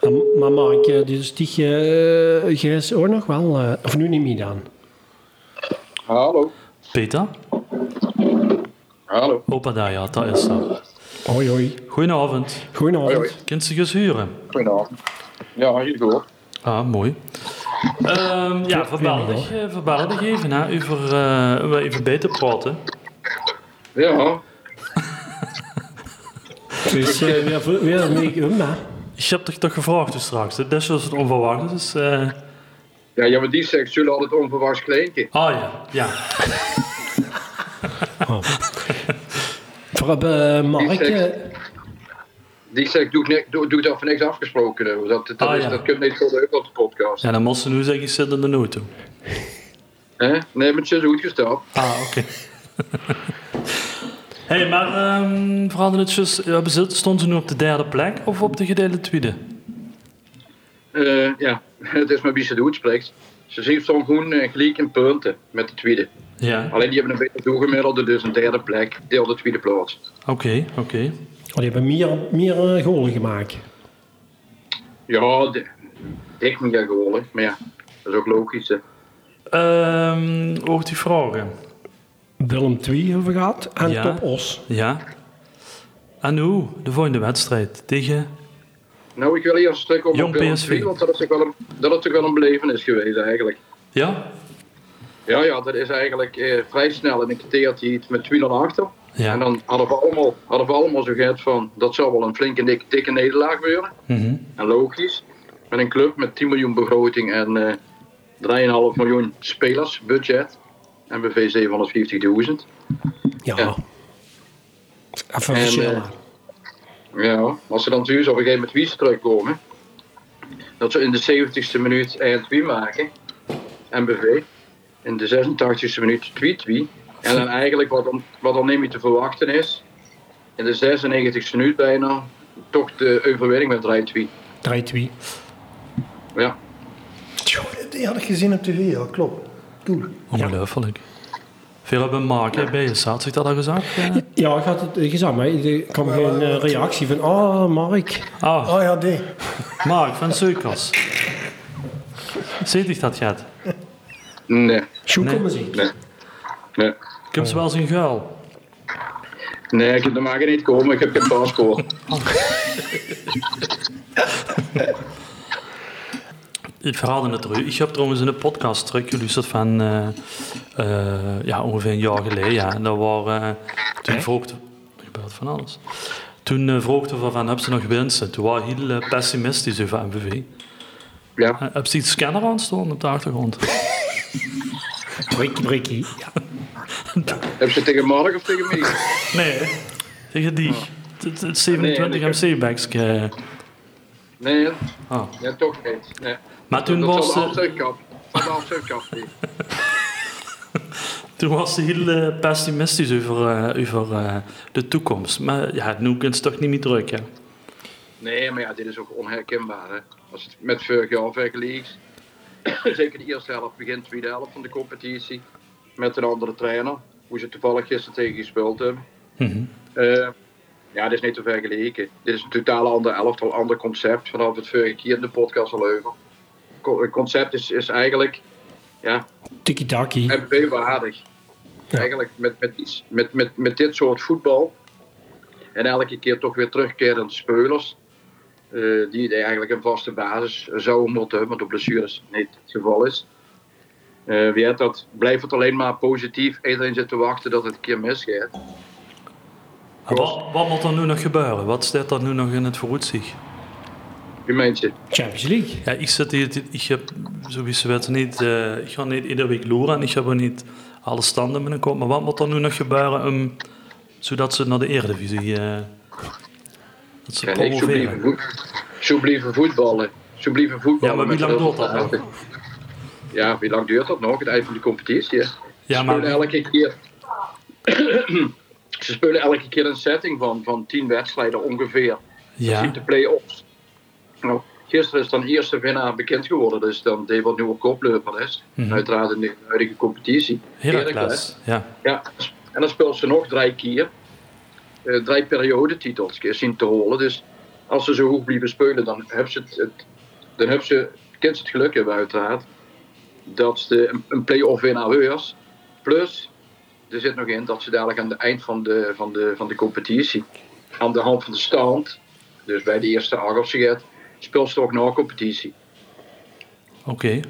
Speaker 2: En, maar Mark, eh, dus die eh, jij is ook nog wel, eh, of nu niet meer dan.
Speaker 4: Hallo.
Speaker 3: Peter?
Speaker 4: Hallo.
Speaker 3: Opa daar, ja, dat is dat.
Speaker 2: Hoi, hoi.
Speaker 3: Goedenavond.
Speaker 2: Goedenavond.
Speaker 4: Hoi,
Speaker 3: Kunt ze eens huren?
Speaker 4: Goedenavond. Ja, heel goed.
Speaker 3: Ah, mooi. Ehm, ja, verbalig, eh, verbalig even, hè, over, eh, om even bij te praten.
Speaker 4: Ja.
Speaker 2: Dus eh, weer, voor- weer een week om, hè?
Speaker 3: Ik heb toch toch gevraagd dus straks, hè. dat was het onverwacht. Dus, eh,
Speaker 4: Ja, ja, maar die zegt, jullie hadden het onverwachts kleintje.
Speaker 3: ah ja, ja.
Speaker 2: Voor eh, Mark,
Speaker 4: Is
Speaker 2: eh,
Speaker 4: Die zegt, doe, ik ni- doe, doe dat voor niks afgesproken. hebben. Dat, dat,
Speaker 3: Ah,
Speaker 4: is,
Speaker 3: ja.
Speaker 4: dat kunnen we niet zo leuk op de podcast.
Speaker 3: Ja, dan moest ze nu zeggen, ik zit in de auto.
Speaker 4: Hè? Nee, maar het is goed gesteld.
Speaker 3: Ah, oké. hey, maar um, verandertjes, stond ze nu op de derde plek of op de gedeelde tweede?
Speaker 4: Eh, ja, het is maar wie ze doet, spreekt. Ze zien zo'n groen en gelijk en punten met de tweede.
Speaker 3: Ja,
Speaker 4: Alleen die hebben een beter doelgemiddelde, dus een derde plek deel de tweede plaats.
Speaker 3: oké, oké.
Speaker 2: Oh, die hebben meer, meer eh, golen gemaakt.
Speaker 4: Ja, de- ik moet ja gewoon, hè. maar ja, dat is ook logisch. hè.
Speaker 3: Ehm, ook die vragen.
Speaker 2: Willem II hebben we gehad en
Speaker 3: Ja.
Speaker 2: Top Os.
Speaker 3: Ja. En hoe? De volgende wedstrijd tegen...
Speaker 4: Nou, ik wil eerst een stuk op
Speaker 3: Jong
Speaker 4: Willem
Speaker 3: PSV.
Speaker 4: II, want dat is, toch wel een, dat is toch wel een belevenis geweest eigenlijk.
Speaker 3: Ja?
Speaker 4: Ja, ja, dat is eigenlijk eh, vrij snel en ik teert hij het met 2-0 achter.
Speaker 3: Ja.
Speaker 4: En dan hadden we allemaal, hadden we allemaal zo gehad van, dat zou wel een flinke dikke, dikke nederlaag worden.
Speaker 3: Mhm.
Speaker 4: En logisch, met een club met 10 miljoen begroting en eh 3,5 miljoen spelers budget. En BV 750.000.
Speaker 2: Ja.
Speaker 4: Ja.
Speaker 2: Even
Speaker 4: En,
Speaker 2: verschillen.
Speaker 4: eh, Ja, als ze dan thuis op een gegeven moment wies terugkomen. Dat ze in de 70ste minuut eind wie maken. MBV. In de 86ste minuut tweet wie. En dan eigenlijk wat dan, wat dan niet meer te verwachten is. In de 96ste minuut bijna. Toch de overwinning met Rijt wie.
Speaker 2: Draait wie?
Speaker 4: Ja.
Speaker 1: Die had ik gezien op tv, ja, klopt. Cool.
Speaker 3: eh, Ongelooflijk. Veel hebben Mark hè, bij je staat. Zegt dat al gezegd? Ja.
Speaker 2: Ja, ik had het eh, gezegd, maar er kwam geen eh, reactie van, ah, Mark.
Speaker 3: Ah,
Speaker 1: Oh ja, die.
Speaker 3: Mark van Suikers. Zit ik dat gaat?
Speaker 4: Nee.
Speaker 2: Sjoe,
Speaker 3: Nee.
Speaker 2: kom eens even.
Speaker 4: Nee. Nee.
Speaker 3: Ik heb ze wel zien geil.
Speaker 4: Nee, ik heb de maag niet komen. Ik heb geen paspoort.
Speaker 3: Ik verhaalde het terug. Ik heb trouwens in een podcast teruggeluisterd van eh, eh, ja, ongeveer een jaar geleden. Ja. En dat waren, eh, toen vroegte... Er gebeurt van alles. Toen eh vroegten we van, hebben ze nog wensen? Toen waren we heel eh, pessimistisch over MVV.
Speaker 2: Ah.
Speaker 4: Ja.
Speaker 3: Eh, Heb ze iets scanner aan staan op de achtergrond?
Speaker 2: Brikkie, brikkie.
Speaker 4: Heb ze tegen Mark of tegen mij?
Speaker 3: Nee. Tegen die. Het- Het 27
Speaker 4: Nee,
Speaker 3: MC-backs.
Speaker 4: Nee,
Speaker 2: Ah.
Speaker 3: Oh.
Speaker 4: ja, toch niet. Nee.
Speaker 3: Maar toen
Speaker 4: dat
Speaker 3: was...
Speaker 4: zal de
Speaker 3: eh,
Speaker 4: afzetkap. Dat zal de afzetkap zijn.
Speaker 3: Toen was ze heel eh, pessimistisch over, eh, over eh, de toekomst. Maar ja, nu kunnen ze toch niet meer druk, hè?
Speaker 4: Nee, maar ja, dit is ook onherkenbaar. Hè? Als het met vorig jaar vergelijkt. Zeker de eerste helft, begin tweede helft van de competitie. Met een andere trainer. Hoe ze toevallig gisteren tegen gespeeld hebben.
Speaker 3: Mhm.
Speaker 4: Eh, ja, dit is niet te vergelijken. Dit is een totaal ander elftal, ander concept. Vanaf het vorige keer in de podcast al over. Co- Het concept is, is eigenlijk ja,
Speaker 2: Tiki-taki.
Speaker 4: MB-waardig. Eigenlijk met, met, iets- met, met, met dit soort voetbal. En elke keer toch weer terugkerend spelers. eh, die eigenlijk een vaste basis zouden moeten hebben. Want de blessures niet het geval is. Eh wie had dat? Blijft het alleen maar positief. Iedereen zit te wachten dat het een keer misgaat.
Speaker 3: En Wat, wat moet er nu nog gebeuren? Wat staat er nu nog in het vooruitzicht?
Speaker 4: U meent je?
Speaker 2: Champions League.
Speaker 3: Ja, ik zit hier... Ik heb sowieso wet niet... eh, ik ga niet iedere week loeren en ik heb ook niet alle standen binnenkomen. Maar wat moet er nu nog gebeuren om, zodat ze naar de Eredivisie... eh dat ze
Speaker 4: Ja, nee, zo blijven,
Speaker 3: promoveren?
Speaker 4: voet- zo blijven voetballen. Zo blijven voetballen.
Speaker 3: Ja, maar wie
Speaker 4: met
Speaker 3: lang duurt dat
Speaker 4: resultaten.
Speaker 3: nog?
Speaker 4: Ja, wie lang duurt dat nog? Het eind van de competitie. hè?
Speaker 3: Ja,
Speaker 4: ze
Speaker 3: maar...
Speaker 4: spelen elke keer. ze spelen elke keer een setting van, van tien wedstrijden ongeveer. Ja.
Speaker 3: Ja,
Speaker 4: de play-offs. Nou, gisteren is dan eerste winnaar bekend geworden. Dus dan deed wat nieuwe koploper is. Uiteraard in de huidige competitie. Heracles.
Speaker 3: Mhm. Heracles. Ja.
Speaker 4: Ja, en dan speelt ze nog drie keer. eh drie periodetitels zien te holen. Dus als ze zo goed blijven spelen, dan hebben ze het, het- dan hebben ze, kunnen ze het geluk hebben uiteraard. Dat ze een, een play-off winnaar is. Plus, er zit nog in dat ze dadelijk aan het eind van de, van de, van de competitie, aan de hand van de stand, dus bij de eerste acht of zo gaat, speelt ze ook nog een competitie.
Speaker 3: Oké.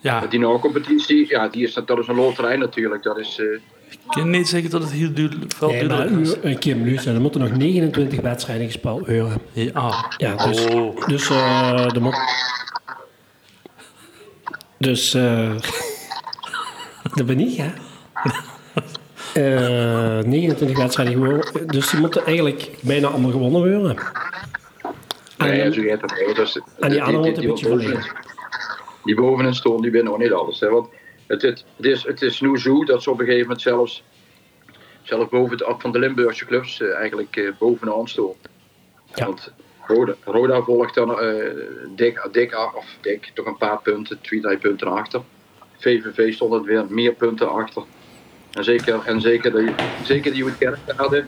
Speaker 3: Ja,
Speaker 4: Want Die na-competitie, ja, die is, dat is een loterij natuurlijk. Dat is... eh,
Speaker 3: ik kan niet zeggen dat het heel duur, veel
Speaker 2: Nee, maar
Speaker 3: duurder is.
Speaker 2: u- eh, Kim, luister, er moeten nog 29 wedstrijden gespeeld worden.
Speaker 3: Ja.
Speaker 2: Ja, dus...
Speaker 3: Oh.
Speaker 2: Dus, eh de mo- Dus, eh dat ben ik, hè? Eh 29 wedstrijden gewonnen. Dus die moeten eigenlijk bijna allemaal gewonnen worden. En,
Speaker 4: Nee,
Speaker 2: dan-
Speaker 4: zo gaat dat niet. Dat is-
Speaker 2: en die andere wordt een beetje
Speaker 4: bovenin-
Speaker 2: verleden.
Speaker 4: Die bovenin stonden, die winnen ook niet alles. Hè? Want het, het, het, is, het is nu zo dat ze op een gegeven moment zelfs, zelfs boven de, van de Limburgse clubs eh, eigenlijk eh, bovenaan stonden.
Speaker 2: Ja.
Speaker 4: Want Roda, Roda volgt dan eh, dik, dik, a- of dik, toch een paar punten, twee, drie punten achter. VVV stond het weer meer punten achter. En zeker, en zeker, de, zeker die Kerkrade,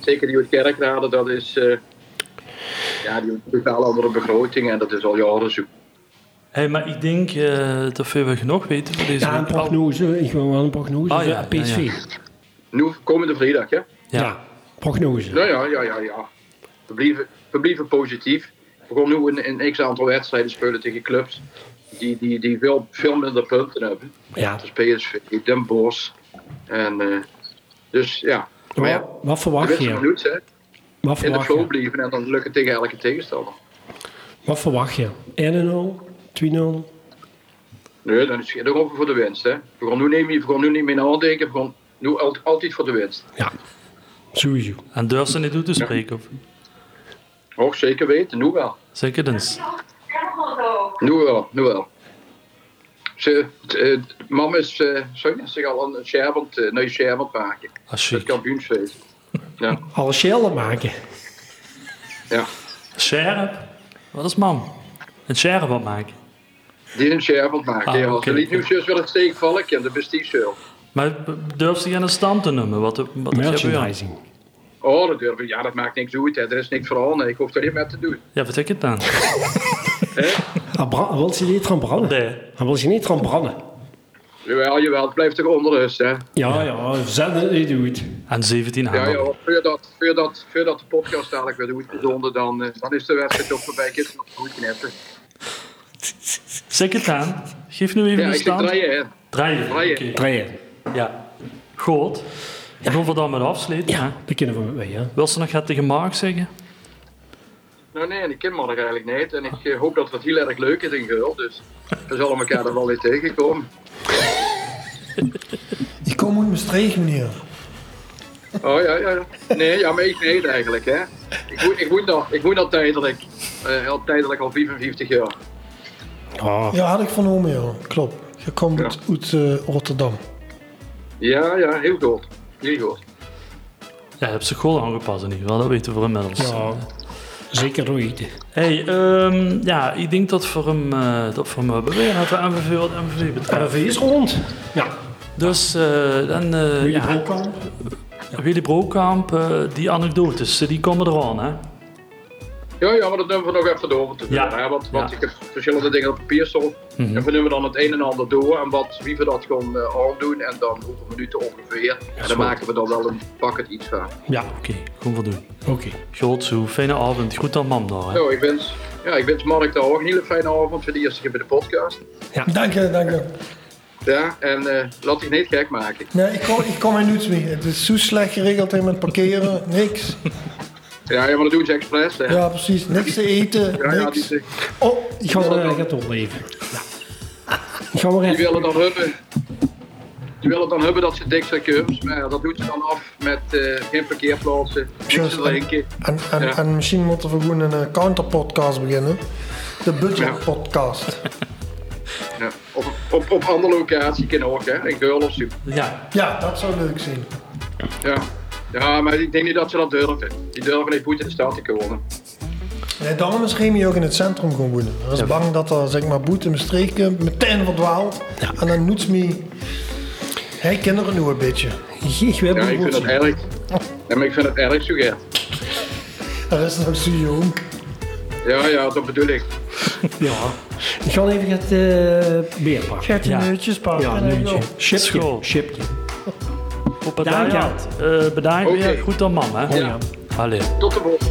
Speaker 4: zeker die Kerkrade, dat is, eh, ja, die heeft een totaal andere begroting en dat is al jaren zo.
Speaker 3: Hey, maar ik denk eh, dat we wel genoeg weten voor deze
Speaker 2: Ja, een
Speaker 3: week. Oh,
Speaker 2: prognose. Ik wil wel een prognose.
Speaker 3: Ah, ja,
Speaker 2: ja, PSV.
Speaker 3: ja,
Speaker 2: Ja,
Speaker 4: Nu, komende vrijdag, hè?
Speaker 3: ja.
Speaker 2: prognose.
Speaker 4: Nou ja, ja, ja, ja. We blijven, we blijven positief. We gaan nu een, een x-aantal wedstrijden spelen tegen clubs die, die, die veel, veel minder punten hebben.
Speaker 2: Ja.
Speaker 4: Dat is PSV, Den Bosch. En, eh, dus ja. Maar ja,
Speaker 2: Wat- Wat
Speaker 4: de
Speaker 2: verwacht
Speaker 4: mensen
Speaker 2: je?
Speaker 4: benieuwd zijn.
Speaker 2: Wat
Speaker 4: In de
Speaker 2: verwacht
Speaker 4: flow
Speaker 2: je?
Speaker 4: blijven en dan lukken tegen elke tegenstander.
Speaker 2: Wat verwacht je? 1-0, 2-0?
Speaker 4: Nee, dan is het over voor de winst. Hè. We gaan nu niet meer, we gaan nu niet meer nadenken. We gaan nu al- altijd voor de winst.
Speaker 2: Ja, sowieso.
Speaker 3: En durf ze niet toe te spreken. Of?
Speaker 4: Och, zeker weten. Nu wel.
Speaker 3: Zeker dus.
Speaker 4: Nu wel, nu wel. Ze, t- eh, mam is eh, zo, zich al een sherbant, eh, nieuw sherbant maken.
Speaker 3: Als
Speaker 4: Het
Speaker 3: je
Speaker 4: kampioensfeest. Ja,
Speaker 2: Al Shellen maken.
Speaker 4: ja.
Speaker 3: scherp, wat is man? Een scherp wat maken.
Speaker 4: Die een sherbant maken.
Speaker 3: Ah,
Speaker 4: ja,
Speaker 3: oké.
Speaker 4: Ze liet nu zus wel een steekvalk en de bestiefzeul.
Speaker 3: Maar durf ze geen stand te noemen? Wat, wat heb je aan?
Speaker 2: Merchandising.
Speaker 4: Oh, dat durf ik. Ja, dat maakt niks uit. Hè. Er is niks veranderd. Ik hoef er niet mee te doen.
Speaker 3: Ja, wat ik het dan?
Speaker 2: Ah, bra- Wil ze niet gaan branden?
Speaker 3: Nee.
Speaker 2: Ah, Wil ze niet gaan branden?
Speaker 4: Jawel, jawel. Het blijft toch onrust, hè?
Speaker 2: Ja, ja, zet het niet goed.
Speaker 3: En 17
Speaker 4: Ja,
Speaker 3: handen.
Speaker 4: ja. Voordat, voordat, voordat de podcast dadelijk weer doet gezonden, dan, eh, dan is de wedstrijd ook voorbij. Ik heb het nog goed knippen.
Speaker 3: Zeg het aan. Geef nu even
Speaker 4: Ja,
Speaker 3: een
Speaker 4: ik zit
Speaker 3: stand.
Speaker 4: draaien, hè.
Speaker 3: Draaien.
Speaker 4: Draaien.
Speaker 3: Oké.
Speaker 2: Draaien.
Speaker 3: Ja. Goed. En hoeveel dan met afsluiten? hè?
Speaker 2: Ja, dat kunnen we mee, ja.
Speaker 3: Wil ze nog wat tegen Mark zeggen?
Speaker 4: Nou nee, en ik ken Mark eigenlijk niet. En
Speaker 3: Ah.
Speaker 4: ik eh, hoop dat het heel erg leuk is in Geul. Dus we zullen elkaar er wel weer tegenkomen.
Speaker 1: Je komt uit Maastricht, meneer.
Speaker 4: Oh ja, ja. ja. Nee, ja, maar ik niet eigenlijk. Hè. Ik, moet, ik, moet dat, ik moet dat tijdelijk. Eh, al tijdelijk al 55 jaar.
Speaker 2: Ah,
Speaker 1: Ja, had ik vernomen, ja. Klopt. Je komt
Speaker 4: Ja.
Speaker 1: uit, uit, eh, Rotterdam.
Speaker 4: Ja, ja, heel goed. Heel goed.
Speaker 3: Ja, je hebt zijn school aangepast in ieder geval. Dat weten we inmiddels.
Speaker 2: ja. Zeker weten.
Speaker 3: Hey, ehm, ja, ik denk dat voor hem, eh, dat voor hem hebben we hebben. Wat MVV, wat MVV betreft.
Speaker 2: RV is rond. Ja.
Speaker 3: Dus eh, dan eh,
Speaker 2: Wil je
Speaker 3: ja,
Speaker 2: ook al?
Speaker 3: Willy Brokamp, eh, die anekdotes, eh, die komen eraan. Hè?
Speaker 4: Ja, ja, maar dat doen we nog even door te doen.
Speaker 3: Ja.
Speaker 4: Hè, want want
Speaker 3: Ja. Mhm.
Speaker 4: ik heb verschillende dingen op papier staan. En we nemen dan het een en ander door. En wat wie we dat gewoon eh, aandoen. En dan hoeveel minuten ongeveer. En dan maken we dan wel een pakket iets van.
Speaker 2: Ja,
Speaker 3: Oké, gewoon voor doen.
Speaker 2: oké.
Speaker 3: Goed zo, fijne avond. Goed aan mam daar. Hè?
Speaker 4: Nou, ik wens, ja, ik wens Mark daar ook een hele fijne avond voor de eerste keer bij de podcast.
Speaker 1: Dank je, dank je.
Speaker 4: Ja, en eh, laat je niet gek maken.
Speaker 1: Nee, ik kom, ik kom in niets mee. Het is zo slecht geregeld hier met parkeren. Niks.
Speaker 4: Ja, ja, maar dat doen ze expres. Hè.
Speaker 1: Ja, precies. Niks te eten.
Speaker 4: Ja, ja,
Speaker 1: Niks.
Speaker 4: die,
Speaker 1: Oh,
Speaker 2: Ik ga wel even doorleven. Ik ga maar
Speaker 4: die,
Speaker 2: even.
Speaker 4: willen dan hebben, die willen dan hebben dat ze dik zijn keus, maar ja, dat doet ze dan af met eh, geen parkeerplaatsen, niks te
Speaker 1: Just, en,
Speaker 4: drinken.
Speaker 1: en, en,
Speaker 4: Ja.
Speaker 1: en misschien moeten we gewoon een eh, counterpodcast beginnen. De budgetpodcast. podcast.
Speaker 4: Ja. Op, op, op andere locatie kan ook, hè, in Geul of zo.
Speaker 3: Ja,
Speaker 1: Ja, dat zou leuk zijn.
Speaker 4: Ja. ja, maar ik denk niet dat ze dat durven. Die durven niet goed in de stad te komen.
Speaker 1: Nee, daarom is Remy ook in het centrum gaan wonen. Hij is bang dat er zeg maar boete in streken meteen verdwaalt. En dan noets me. Hij kinderen nu een beetje.
Speaker 2: Ik wil
Speaker 4: Ja, ik vind dat
Speaker 2: bijvoorbeeld-
Speaker 4: erg. Ja, maar ik vind het erg, Sugert.
Speaker 1: Er is nog zo jong.
Speaker 4: Ja, ja, dat bedoel ik.
Speaker 2: Ja. Ik ga even het eh beer pakken.
Speaker 1: Gaat die
Speaker 3: Ja.
Speaker 1: neutjes pakken.
Speaker 2: Ja, nuntje. Chipje.
Speaker 3: School.
Speaker 2: Chipje. Dank
Speaker 3: op bedankt.
Speaker 2: je.
Speaker 3: Ja. eh, bedankt
Speaker 4: Oké.
Speaker 3: weer. Goed aan mam. Hè?
Speaker 4: Ja.
Speaker 3: Allee.
Speaker 4: Tot de volgende.